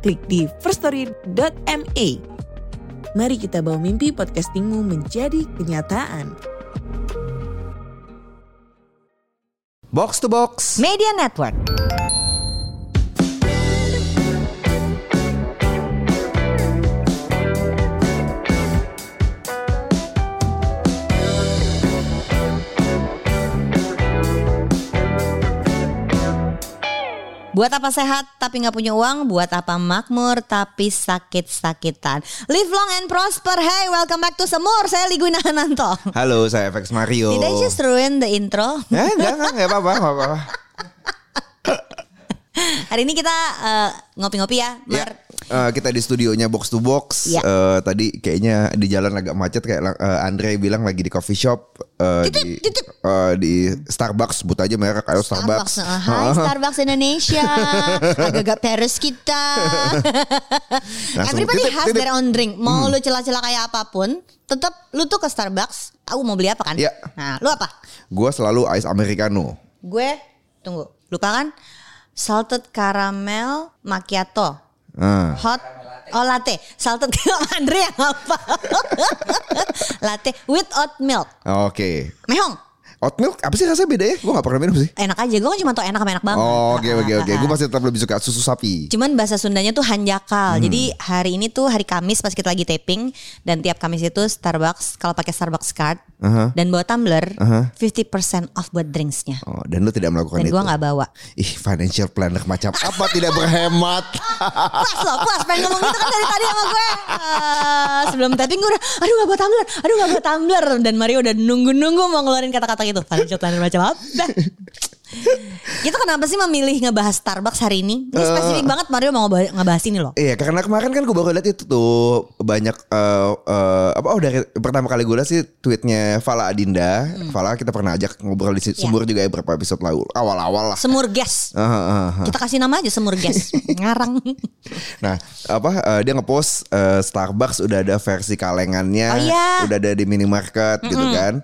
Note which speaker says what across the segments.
Speaker 1: klik di firststory.me. Mari kita bawa mimpi podcastingmu menjadi kenyataan.
Speaker 2: Box to box.
Speaker 3: Media Network. Buat apa sehat tapi nggak punya uang? Buat apa makmur tapi sakit-sakitan? Live long and prosper. Hey, welcome back to Semur. Saya Ligwina Hananto.
Speaker 2: Halo, saya FX Mario.
Speaker 3: Did I just ruin the intro?
Speaker 2: Ya, enggak, enggak, enggak apa-apa, enggak apa-apa.
Speaker 3: Hari ini kita eh, ngopi-ngopi ya,
Speaker 2: Ya,
Speaker 3: Mar.
Speaker 2: eh, kita di studionya box to box.
Speaker 3: Ya.
Speaker 2: Eh, tadi kayaknya di jalan agak macet kayak lang- eh, Andre bilang lagi di coffee shop eh,
Speaker 3: Titip,
Speaker 2: di
Speaker 3: titip.
Speaker 2: eh, di Starbucks sebut aja merek ayo
Speaker 3: Starbucks.
Speaker 2: Starbucks.
Speaker 3: eh, Hai Starbucks Indonesia. Agak-agak Paris kita.
Speaker 2: Langsung
Speaker 3: Everybody
Speaker 2: titip,
Speaker 3: has
Speaker 2: titip.
Speaker 3: their own drink. Mau lu celah-celah kayak apapun, tetap lu tuh ke Starbucks, aku mau beli apa kan?
Speaker 2: Iya.
Speaker 3: Nah, lu apa?
Speaker 2: Gua selalu ice americano.
Speaker 3: Gue tunggu. Lupa kan? Salted caramel macchiato.
Speaker 2: Ah.
Speaker 3: Hot Oh latte, salted Andre yang apa? latte with oat milk.
Speaker 2: Oke.
Speaker 3: Mehong,
Speaker 2: Oat milk apa sih rasanya beda ya? Gua gak pernah minum sih.
Speaker 3: enak aja. Gue kan cuma tau enak sama enak banget.
Speaker 2: Oh, oke oke oke.
Speaker 3: Ah, ah, ah.
Speaker 2: Gua masih tetap lebih suka susu sapi.
Speaker 3: Cuman bahasa Sundanya tuh hanjakal.
Speaker 2: Hmm.
Speaker 3: Jadi hari ini tuh hari Kamis pas kita lagi taping dan tiap Kamis itu Starbucks kalau pakai Starbucks card
Speaker 2: Aha.
Speaker 3: dan bawa tumbler
Speaker 2: Aha.
Speaker 3: 50% off buat drinksnya.
Speaker 2: Oh, dan lu tidak melakukan itu.
Speaker 3: Dan gua nggak bawa.
Speaker 2: Ih, financial planner macam apa tidak berhemat.
Speaker 3: Puas loh, puas pengen ngomong gitu kan dari tadi sama gue. Eh, sebelum taping gue udah, aduh gak bawa tumbler, aduh gak bawa tumbler. Dan Mario udah nunggu-nunggu mau ngeluarin kata-kata gitu. Financial planner macam apa? Kita kenapa sih memilih ngebahas Starbucks hari ini? Ini
Speaker 2: Eh.
Speaker 3: spesifik banget Mario mau ngebah- ngebahas ini loh.
Speaker 2: Iya karena kemarin kan gue baru lihat itu tuh banyak eh, eh, apa oh dari pertama kali gue lihat sih tweetnya Fala Adinda.
Speaker 3: Hmm.
Speaker 2: Fala kita pernah ajak ngobrol di
Speaker 3: Iya.
Speaker 2: sumber juga ya beberapa episode lalu awal-awal lah.
Speaker 3: Semur gas.
Speaker 2: Ah, ah, ah.
Speaker 3: Kita kasih nama aja semur gas. Ngarang.
Speaker 2: Nah apa eh, dia ngepost eh, Starbucks udah ada versi kalengannya,
Speaker 3: Oh, iya.
Speaker 2: udah ada di minimarket gitu kan.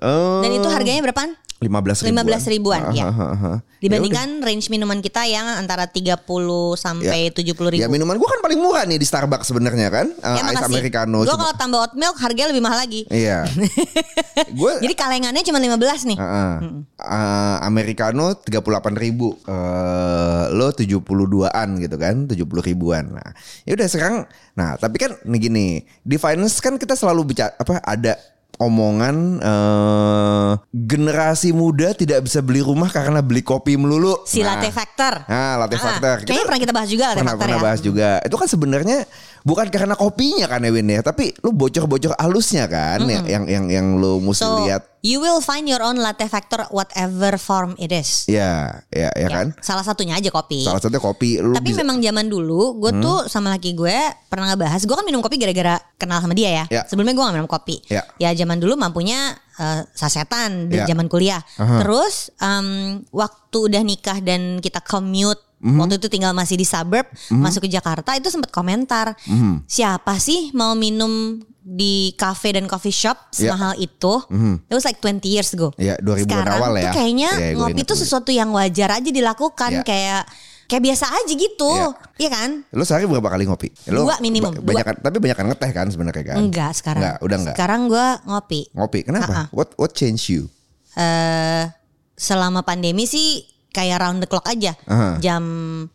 Speaker 2: Eh,
Speaker 3: Dan itu harganya berapaan?
Speaker 2: lima belas ribuan.
Speaker 3: 15 ribuan,
Speaker 2: Ah,
Speaker 3: iya.
Speaker 2: ah, ah, ah.
Speaker 3: Dibandingkan range minuman kita yang antara 30 sampai 70
Speaker 2: Ya
Speaker 3: ribu.
Speaker 2: minuman gue kan paling murah nih di Starbucks sebenarnya kan, Eh,
Speaker 3: Ya,
Speaker 2: ice
Speaker 3: makasih.
Speaker 2: americano.
Speaker 3: Gua
Speaker 2: Cuma-
Speaker 3: kalau tambah oat milk harganya lebih mahal lagi.
Speaker 2: Iya. gue
Speaker 3: Jadi kalengannya cuma 15 nih.
Speaker 2: Heeh. Eh, Americano 38 ribu eh Lo 72an gitu kan 70 ribuan Nah ya udah sekarang Nah tapi kan nih gini Di finance kan kita selalu bicara Apa ada omongan eh Generasi muda tidak bisa beli rumah Karena beli kopi melulu
Speaker 3: Si
Speaker 2: Nah,
Speaker 3: latte factor.
Speaker 2: Nah latte
Speaker 3: Ah,
Speaker 2: factor Kita-
Speaker 3: Kayaknya pernah kita bahas juga latte
Speaker 2: pernah,
Speaker 3: factor
Speaker 2: pernah
Speaker 3: ya.
Speaker 2: bahas juga itu kan sebenarnya bukan karena kopinya kan Ewin ya tapi lu bocor-bocor alusnya kan yang yang yang yang lu mesti
Speaker 3: So,
Speaker 2: lihat
Speaker 3: you will find your own latte factor whatever form it is.
Speaker 2: ya ya ya kan
Speaker 3: Salah satunya aja kopi.
Speaker 2: salah satunya kopi lu
Speaker 3: Tapi
Speaker 2: bisa Hmm?
Speaker 3: memang zaman dulu gue tuh sama laki gue pernah ngebahas gue kan minum kopi gara-gara kenal sama dia ya.
Speaker 2: Ya.
Speaker 3: Sebelumnya gue gak minum kopi.
Speaker 2: Ya.
Speaker 3: zaman dulu mampunya eh, sasetan di
Speaker 2: Ya.
Speaker 3: zaman kuliah.
Speaker 2: Aha.
Speaker 3: Terus em, waktu udah nikah dan kita commute
Speaker 2: Hmm.
Speaker 3: waktu itu tinggal masih di suburb masuk ke Jakarta itu sempat komentar
Speaker 2: Hmm.
Speaker 3: siapa sih mau minum di cafe dan coffee shop
Speaker 2: Ya.
Speaker 3: semahal itu. It was like 20 years ago.
Speaker 2: Ya, 2000-an
Speaker 3: Sekarang
Speaker 2: awal
Speaker 3: tuh
Speaker 2: ya.
Speaker 3: kayaknya
Speaker 2: Ya, gua
Speaker 3: ngopi
Speaker 2: ingat, gua
Speaker 3: tuh
Speaker 2: ingat.
Speaker 3: sesuatu yang wajar aja dilakukan
Speaker 2: Ya.
Speaker 3: kayak kayak biasa aja gitu.
Speaker 2: Ya.
Speaker 3: Iya kan?
Speaker 2: lu sehari berapa kali ngopi Ya, lu
Speaker 3: Dua minimum, dua.
Speaker 2: banyak tapi banyak kan ngeteh kan sebenarnya kan
Speaker 3: Enggak sekarang.
Speaker 2: Enggak, udah enggak
Speaker 3: Sekarang gue ngopi.
Speaker 2: ngopi kenapa
Speaker 3: Ah, ah.
Speaker 2: what what change you
Speaker 3: eh selama pandemi sih kayak round the clock aja.
Speaker 2: Aha.
Speaker 3: Jam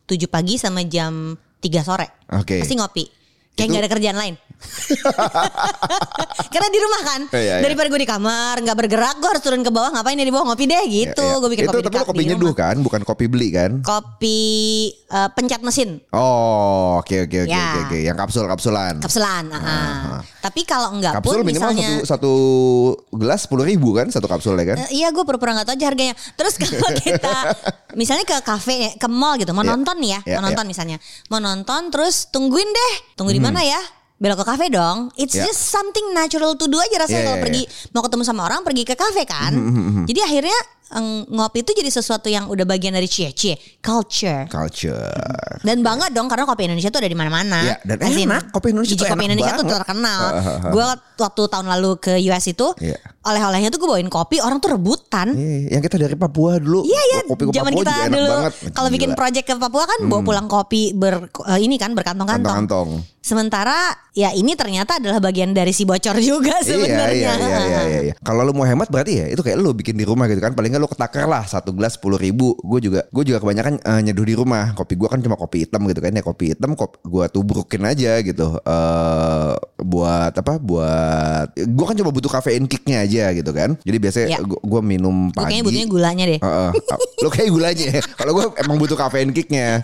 Speaker 3: 7 pagi sama jam 3 sore.
Speaker 2: Oke.
Speaker 3: Pasti ngopi. Kayak
Speaker 2: Itu-
Speaker 3: nggak ada kerjaan lain. Karena di rumah kan,
Speaker 2: Iya, iya.
Speaker 3: daripada gue di kamar nggak bergerak, gue harus turun ke bawah ngapain ya di bawah ngopi deh gitu.
Speaker 2: Ya, ya.
Speaker 3: Gue bikin
Speaker 2: Itu
Speaker 3: kopi di
Speaker 2: tapi lo
Speaker 3: kap-
Speaker 2: kopi
Speaker 3: di
Speaker 2: nyeduh
Speaker 3: rumah.
Speaker 2: kan, bukan kopi beli kan?
Speaker 3: Kopi eh, pencet mesin
Speaker 2: Oh, oke oke oke
Speaker 3: Ya.
Speaker 2: oke oke. Yang kapsul kapsulan.
Speaker 3: kapsulan. ah, ah. Tapi kalau enggak
Speaker 2: Kapsul
Speaker 3: pun
Speaker 2: minimal
Speaker 3: misalnya
Speaker 2: satu satu gelas sepuluh ribu kan satu kapsulnya kan?
Speaker 3: Eh, iya gue pura-pura gak tau aja harganya Terus kalau kita Misalnya ke kafe Ke mall gitu Mau
Speaker 2: Iya.
Speaker 3: nonton nih ya
Speaker 2: Iya,
Speaker 3: Mau nonton misalnya Mau nonton terus Tungguin deh Tunggu di mana ya Belok ke kafe dong It's
Speaker 2: Hmm. Iya.
Speaker 3: just something natural to do aja Rasanya
Speaker 2: Iya,
Speaker 3: kalau
Speaker 2: iya, Hmm,
Speaker 3: pergi Mau ketemu sama orang Pergi ke kafe kan Jadi akhirnya eng, Ngopi itu jadi sesuatu yang Udah bagian dari cie-cie Culture
Speaker 2: Culture.
Speaker 3: dan bangga dong karena kopi Indonesia tuh ada di mana-mana.
Speaker 2: Iya, dan
Speaker 3: As in,
Speaker 2: enak. Kopi Indonesia
Speaker 3: biji
Speaker 2: tuh
Speaker 3: kopi
Speaker 2: enak
Speaker 3: Indonesia tuh
Speaker 2: banget.
Speaker 3: terkenal.
Speaker 2: Hahaha.
Speaker 3: Gue waktu tahun lalu ke US itu
Speaker 2: Iya.
Speaker 3: oleh-olehnya tuh gue bawain kopi, orang tuh rebutan.
Speaker 2: Iya, yang kita dari Papua dulu.
Speaker 3: Iya ya,
Speaker 2: Kopi ke
Speaker 3: zaman
Speaker 2: Papua
Speaker 3: kita
Speaker 2: juga enak
Speaker 3: dulu
Speaker 2: banget.
Speaker 3: kalau bikin
Speaker 2: Gila. Hmm.
Speaker 3: project ke Papua kan bawa pulang kopi ber eh, ini kan berkantong-kantong.
Speaker 2: kantong-kantong.
Speaker 3: Sementara ya ini ternyata adalah bagian dari si bocor juga
Speaker 2: Iya,
Speaker 3: sebenarnya.
Speaker 2: iya, iya, iya, iya, iya. Kalau lu mau hemat berarti ya itu kayak lu bikin di rumah gitu kan. Paling nggak lu ketakar lah satu gelas sepuluh ribu. Gue juga, gue juga kebanyakan eh, nyeduh di rumah. Kopi gue kan cuma kopi hitam gitu kan ya. Kopi hitam, kop, gue tubrukin aja gitu. eh buat apa? Buat gue kan cuma butuh kafein kicknya aja gitu kan. Jadi biasanya
Speaker 3: Iya.
Speaker 2: gue gue minum
Speaker 3: Gue
Speaker 2: pagi.
Speaker 3: kayaknya butuhnya gulanya deh.
Speaker 2: Heeh. Lu kayak gulanya. ya. Kalau gue emang butuh kafein kicknya.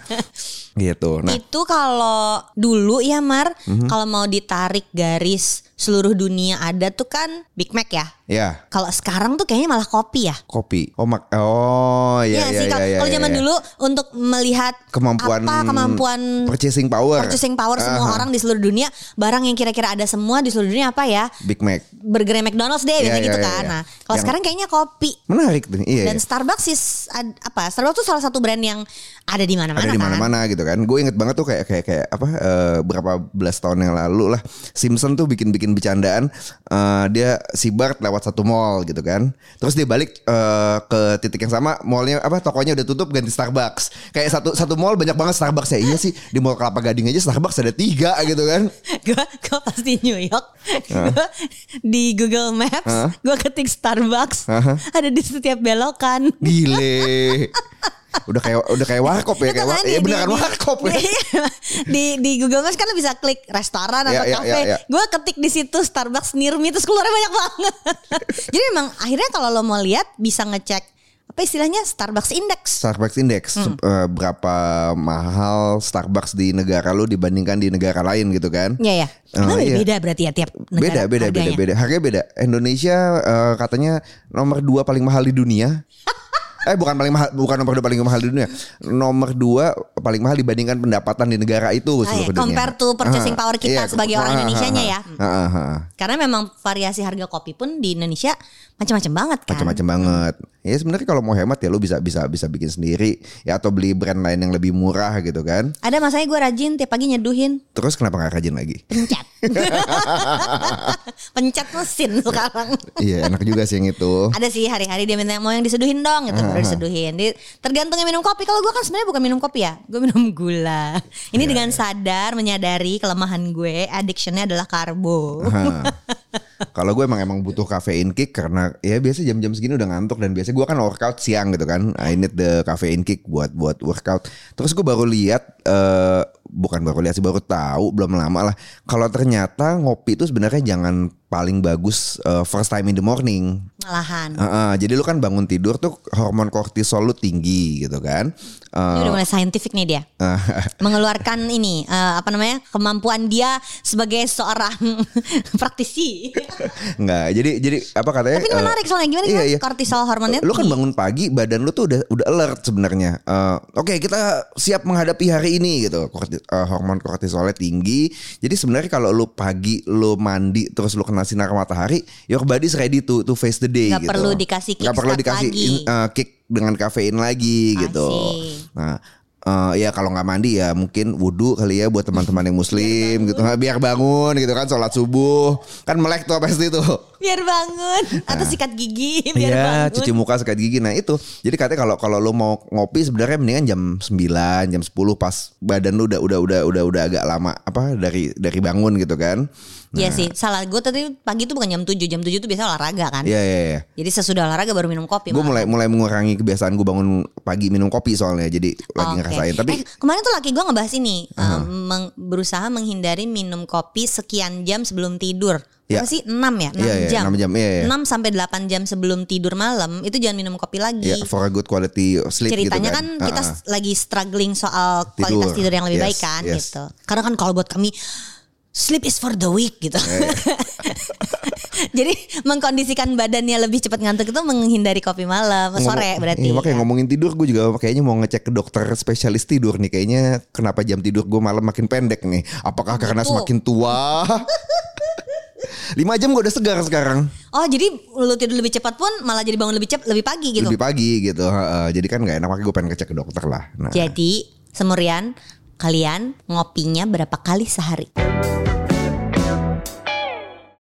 Speaker 2: Gitu. Nah, Mhm.
Speaker 3: Itu kalau dulu ya Mar, kalau mau ditarik garis seluruh dunia ada tuh kan Big Mac ya.
Speaker 2: ya
Speaker 3: Kalau sekarang tuh kayaknya malah kopi ya.
Speaker 2: kopi. Oh, mak oh ya
Speaker 3: Iya nggak
Speaker 2: ya
Speaker 3: sih
Speaker 2: ya.
Speaker 3: kalau
Speaker 2: ya,
Speaker 3: kalau
Speaker 2: ya,
Speaker 3: zaman
Speaker 2: ya.
Speaker 3: dulu untuk melihat
Speaker 2: kemampuan
Speaker 3: apa kemampuan
Speaker 2: purchasing power.
Speaker 3: purchasing power semua
Speaker 2: Aha.
Speaker 3: orang di seluruh dunia, barang yang kira-kira ada semua di seluruh dunia apa ya?
Speaker 2: Big Mac.
Speaker 3: Burger McDonald's deh
Speaker 2: Iya,
Speaker 3: biasanya
Speaker 2: iya,
Speaker 3: gitu
Speaker 2: iya,
Speaker 3: kan.
Speaker 2: iya.
Speaker 3: Nah, kalau
Speaker 2: Yang-
Speaker 3: sekarang kayaknya kopi.
Speaker 2: Menarik tuh. Iya.
Speaker 3: Dan
Speaker 2: iya.
Speaker 3: Starbucks is ad- apa? Starbucks tuh salah satu brand yang ada di mana-mana
Speaker 2: ada di
Speaker 3: kan.
Speaker 2: mana-mana gitu kan. Gue inget banget tuh kayak kayak kayak apa eh, berapa belas tahun yang lalu lah Simpson tuh bikin-bikin bercandaan eh, dia si Bart lewat satu mall gitu kan. Terus dia balik eh, ke titik yang sama, mallnya apa tokonya udah tutup ganti Starbucks. Kayak satu satu mall banyak banget Starbucks ya. Iya sih di mall Kelapa Gading aja Starbucks ada tiga gitu kan.
Speaker 3: gue gue pasti New York Gua di Google Maps gue ketik Starbucks ada di setiap belokan
Speaker 2: Gile. Udah kayak udah kayak warkop ya kayak war-
Speaker 3: Kan
Speaker 2: ya
Speaker 3: di-
Speaker 2: beneran
Speaker 3: di-
Speaker 2: warkop. ya.
Speaker 3: di, di, di Google Maps kan lo bisa klik restoran
Speaker 2: Ya,
Speaker 3: atau
Speaker 2: ya,
Speaker 3: cafe
Speaker 2: ya, ya.
Speaker 3: gue ketik di situ Starbucks near me terus keluarnya banyak banget jadi memang akhirnya kalau lo mau lihat bisa ngecek apa istilahnya Starbucks Index
Speaker 2: Starbucks Index
Speaker 3: Hmm.
Speaker 2: eh, berapa mahal Starbucks di negara lu dibandingkan di negara lain gitu kan?
Speaker 3: ya ya
Speaker 2: Oh,
Speaker 3: Emang
Speaker 2: iya.
Speaker 3: beda berarti ya tiap
Speaker 2: Beda
Speaker 3: negara
Speaker 2: beda
Speaker 3: harganya.
Speaker 2: beda beda harganya beda. Indonesia eh, katanya nomor dua paling mahal di dunia. eh bukan paling mahal bukan nomor dua paling mahal di dunia. Nomor dua paling mahal dibandingkan pendapatan di negara itu
Speaker 3: Ah, iya.
Speaker 2: seluruh dunia.
Speaker 3: Compare to
Speaker 2: Ah,
Speaker 3: purchasing power kita sebagai
Speaker 2: Ah,
Speaker 3: orang
Speaker 2: ah,
Speaker 3: Indonesianya
Speaker 2: ah,
Speaker 3: ya.
Speaker 2: ah, ah, ah.
Speaker 3: karena memang variasi harga kopi pun di Indonesia macam-macam banget kan
Speaker 2: macam-macam banget. Ya sebenarnya kalau mau hemat ya lu bisa bisa bisa bikin sendiri ya atau beli brand lain yang lebih murah gitu kan.
Speaker 3: Ada masanya gue rajin tiap pagi nyeduhin
Speaker 2: Terus kenapa nggak rajin lagi?
Speaker 3: pencet. pencet mesin sekarang.
Speaker 2: Iya enak juga sih yang itu.
Speaker 3: Ada sih hari-hari dia minta mau yang diseduhin dong gitu baru diseduhin. Di, tergantung yang minum kopi. Kalau gue kan sebenarnya bukan minum kopi ya, gue minum gula. Ini
Speaker 2: Iya,
Speaker 3: dengan sadar menyadari kelemahan gue, addictionnya adalah karbo.
Speaker 2: Hah. Kalau gue emang emang butuh kafein kick karena ya biasa jam-jam segini udah ngantuk dan biasa gue kan workout siang gitu kan. I need the kafein kick buat buat workout. Terus gue baru lihat eh bukan baru lihat sih baru tahu belum lama lah kalau ternyata ngopi itu sebenarnya jangan paling bagus eh, first time in the morning.
Speaker 3: Malahan.
Speaker 2: Heeh, jadi lu kan bangun tidur tuh hormon kortisol lu tinggi gitu kan. Eh,
Speaker 3: Ini udah mulai scientific nih dia. Mengeluarkan ini eh, apa namanya? kemampuan dia sebagai seorang praktisi.
Speaker 2: Nggak, jadi jadi apa katanya?
Speaker 3: Tapi ini
Speaker 2: eh,
Speaker 3: menarik soalnya gimana
Speaker 2: iya,
Speaker 3: gimana
Speaker 2: iya.
Speaker 3: kortisol hormonnya
Speaker 2: Lu kan
Speaker 3: tinggi.
Speaker 2: bangun pagi, badan lu tuh udah udah alert sebenarnya. Eh, Oke, kita siap menghadapi hari ini gitu. Korti- eh, hormon kortisolnya tinggi. Jadi sebenarnya kalau lu pagi lu mandi terus lu kena sinar matahari, your body's ready to to face the day gitu.
Speaker 3: Nggak perlu dikasih
Speaker 2: Nggak perlu
Speaker 3: kickstart
Speaker 2: dikasih
Speaker 3: lagi.
Speaker 2: in- eh, kick dengan kafein lagi
Speaker 3: I
Speaker 2: gitu.
Speaker 3: see.
Speaker 2: Nah, eh, ya kalau nggak mandi ya mungkin wudhu kali ya buat teman-teman yang muslim gitu biar bangun gitu kan sholat subuh kan melek tuh pasti tuh
Speaker 3: biar bangun atau sikat gigi biar
Speaker 2: Nah. Iya,
Speaker 3: bangun.
Speaker 2: cuci muka sikat gigi. Nah, itu. Jadi katanya kalau kalau lu mau ngopi sebenarnya mendingan jam 9, jam 10 pas badan lu udah udah udah udah udah agak lama apa dari dari bangun gitu kan.
Speaker 3: Iya sih, salah gue tadi pagi tuh bukan jam 7, jam 7 tuh biasa olahraga kan.
Speaker 2: Iya, iya, iya.
Speaker 3: Jadi sesudah olahraga baru minum kopi.
Speaker 2: Gue
Speaker 3: malah.
Speaker 2: mulai mulai mengurangi kebiasaan gue bangun pagi minum kopi soalnya. Jadi lagi
Speaker 3: Oke.
Speaker 2: ngerasain. Tapi
Speaker 3: Eh, kemarin tuh laki gue ngebahas ini, eh, meng- berusaha menghindari minum kopi sekian jam sebelum tidur.
Speaker 2: Iya.
Speaker 3: Apa sih 6 ya? 6
Speaker 2: Iya, iya,
Speaker 3: jam.
Speaker 2: enam jam, iya, iya.
Speaker 3: 6 sampai 8 jam sebelum tidur malam itu jangan minum kopi lagi.
Speaker 2: ya for a good quality sleep gitu
Speaker 3: Ceritanya kan,
Speaker 2: kan.
Speaker 3: kita
Speaker 2: Ah, ah.
Speaker 3: s- lagi struggling soal kualitas
Speaker 2: Tidur.
Speaker 3: tidur yang lebih
Speaker 2: Yes,
Speaker 3: baik kan
Speaker 2: yes.
Speaker 3: gitu. Karena kan kalau buat kami sleep is for the weak gitu.
Speaker 2: Eh, iya.
Speaker 3: Jadi mengkondisikan badannya lebih cepat ngantuk itu menghindari kopi malam sore
Speaker 2: Ngomong-
Speaker 3: berarti.
Speaker 2: Iya, makanya
Speaker 3: ya.
Speaker 2: ngomongin tidur gue juga kayaknya mau ngecek ke dokter spesialis tidur nih kayaknya kenapa jam tidur gue malam makin pendek nih apakah karena
Speaker 3: Gitu.
Speaker 2: semakin tua 5 jam gue udah segar sekarang
Speaker 3: Oh jadi lu tidur lebih cepat pun malah jadi bangun lebih cepat lebih pagi gitu.
Speaker 2: lebih pagi gitu Heeh, jadi kan nggak enak makanya gue pengen ngecek ke dokter lah
Speaker 3: Iya,
Speaker 2: nah
Speaker 3: Jadi semurian kalian ngopinya berapa kali sehari?